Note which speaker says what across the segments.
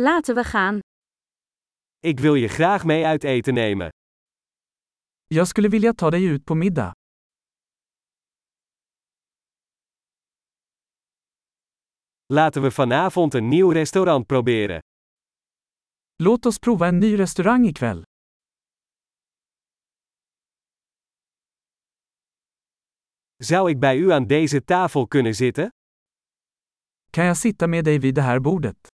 Speaker 1: Laten we gaan.
Speaker 2: Ik wil je graag mee uit eten nemen.
Speaker 3: Jag skulle vilja ta dig ut på middag.
Speaker 2: Laten we vanavond een nieuw restaurant proberen.
Speaker 3: Låt oss prova en ny restaurang ikväll.
Speaker 2: Zou ik bij u aan deze tafel kunnen zitten?
Speaker 3: Kan jag sitta med dig vid det här bordet?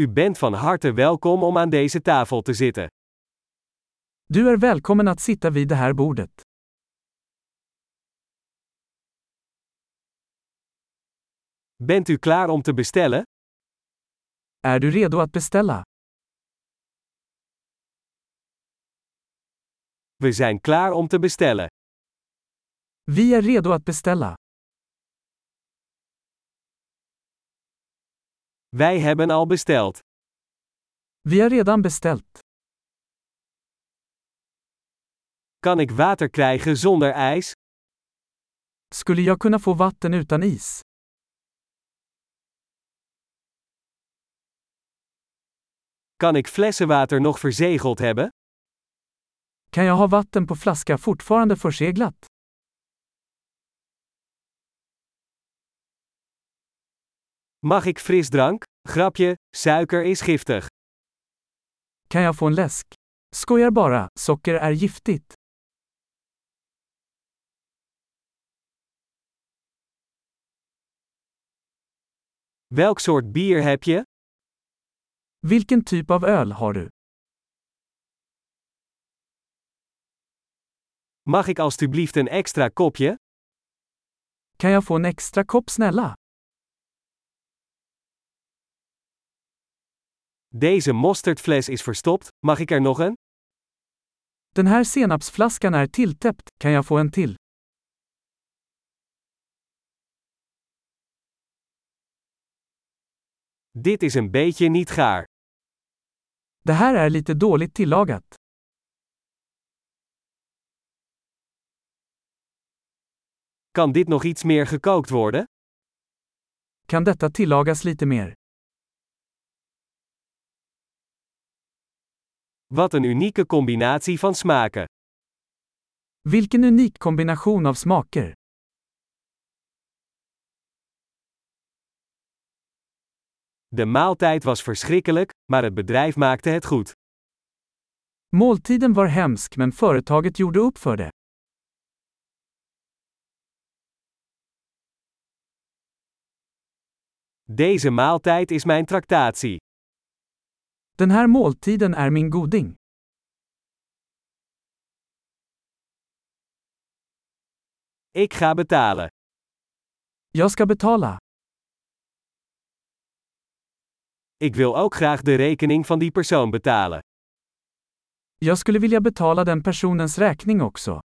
Speaker 2: U bent van harte welkom om aan deze tafel te zitten.
Speaker 3: Du är välkommen att sitta vid det här bordet.
Speaker 2: Bent u klaar om te bestellen?
Speaker 3: Är du redo att beställa?
Speaker 2: We zijn klaar om te bestellen.
Speaker 3: Vi är redo att beställa.
Speaker 2: Wij hebben al besteld.
Speaker 3: Vi har redan beställt.
Speaker 2: Kan ik water krijgen zonder ijs?
Speaker 3: Skulle jag kunna få vatten utan is?
Speaker 2: Kan ik flessenwater nog verzegeld hebben?
Speaker 3: Kan jag ha vatten på flaska fortfarande förseglat?
Speaker 2: Mag ik frisdrank? Grapje, suiker is giftig.
Speaker 3: Kan jag få en läsk? Skojar bara, socker är giftigt.
Speaker 2: Welk soort bier heb je?
Speaker 3: Vilken typ av öl har du?
Speaker 2: Mag ik alstublieft een extra kopje?
Speaker 3: Kan jag få en extra kopp snälla?
Speaker 2: Deze mosterdfles is verstopt, mag ik er nog een?
Speaker 3: Den här senapsflaskan är tilltäppt, kan jag få en till?
Speaker 2: Dit is een beetje niet gaar.
Speaker 3: Det här är lite dåligt tillagat.
Speaker 2: Kan dit nog iets meer gekookt worden?
Speaker 3: Kan detta tillagas lite mer?
Speaker 2: Wat een unieke combinatie van smaken.
Speaker 3: Vilken unik kombination av smaker.
Speaker 2: De maaltijd was verschrikkelijk, maar het bedrijf maakte het goed.
Speaker 3: Måltiden var hemsk men företaget gjorde upp för det.
Speaker 2: Deze maaltijd is mijn tractatie.
Speaker 3: Den här måltiden är min goding.
Speaker 2: Ik ga betalen.
Speaker 3: Jag ska betala.
Speaker 2: Ik wil ook graag de rekening van die persoon betalen.
Speaker 3: Jag skulle vilja betala den personens räkning också.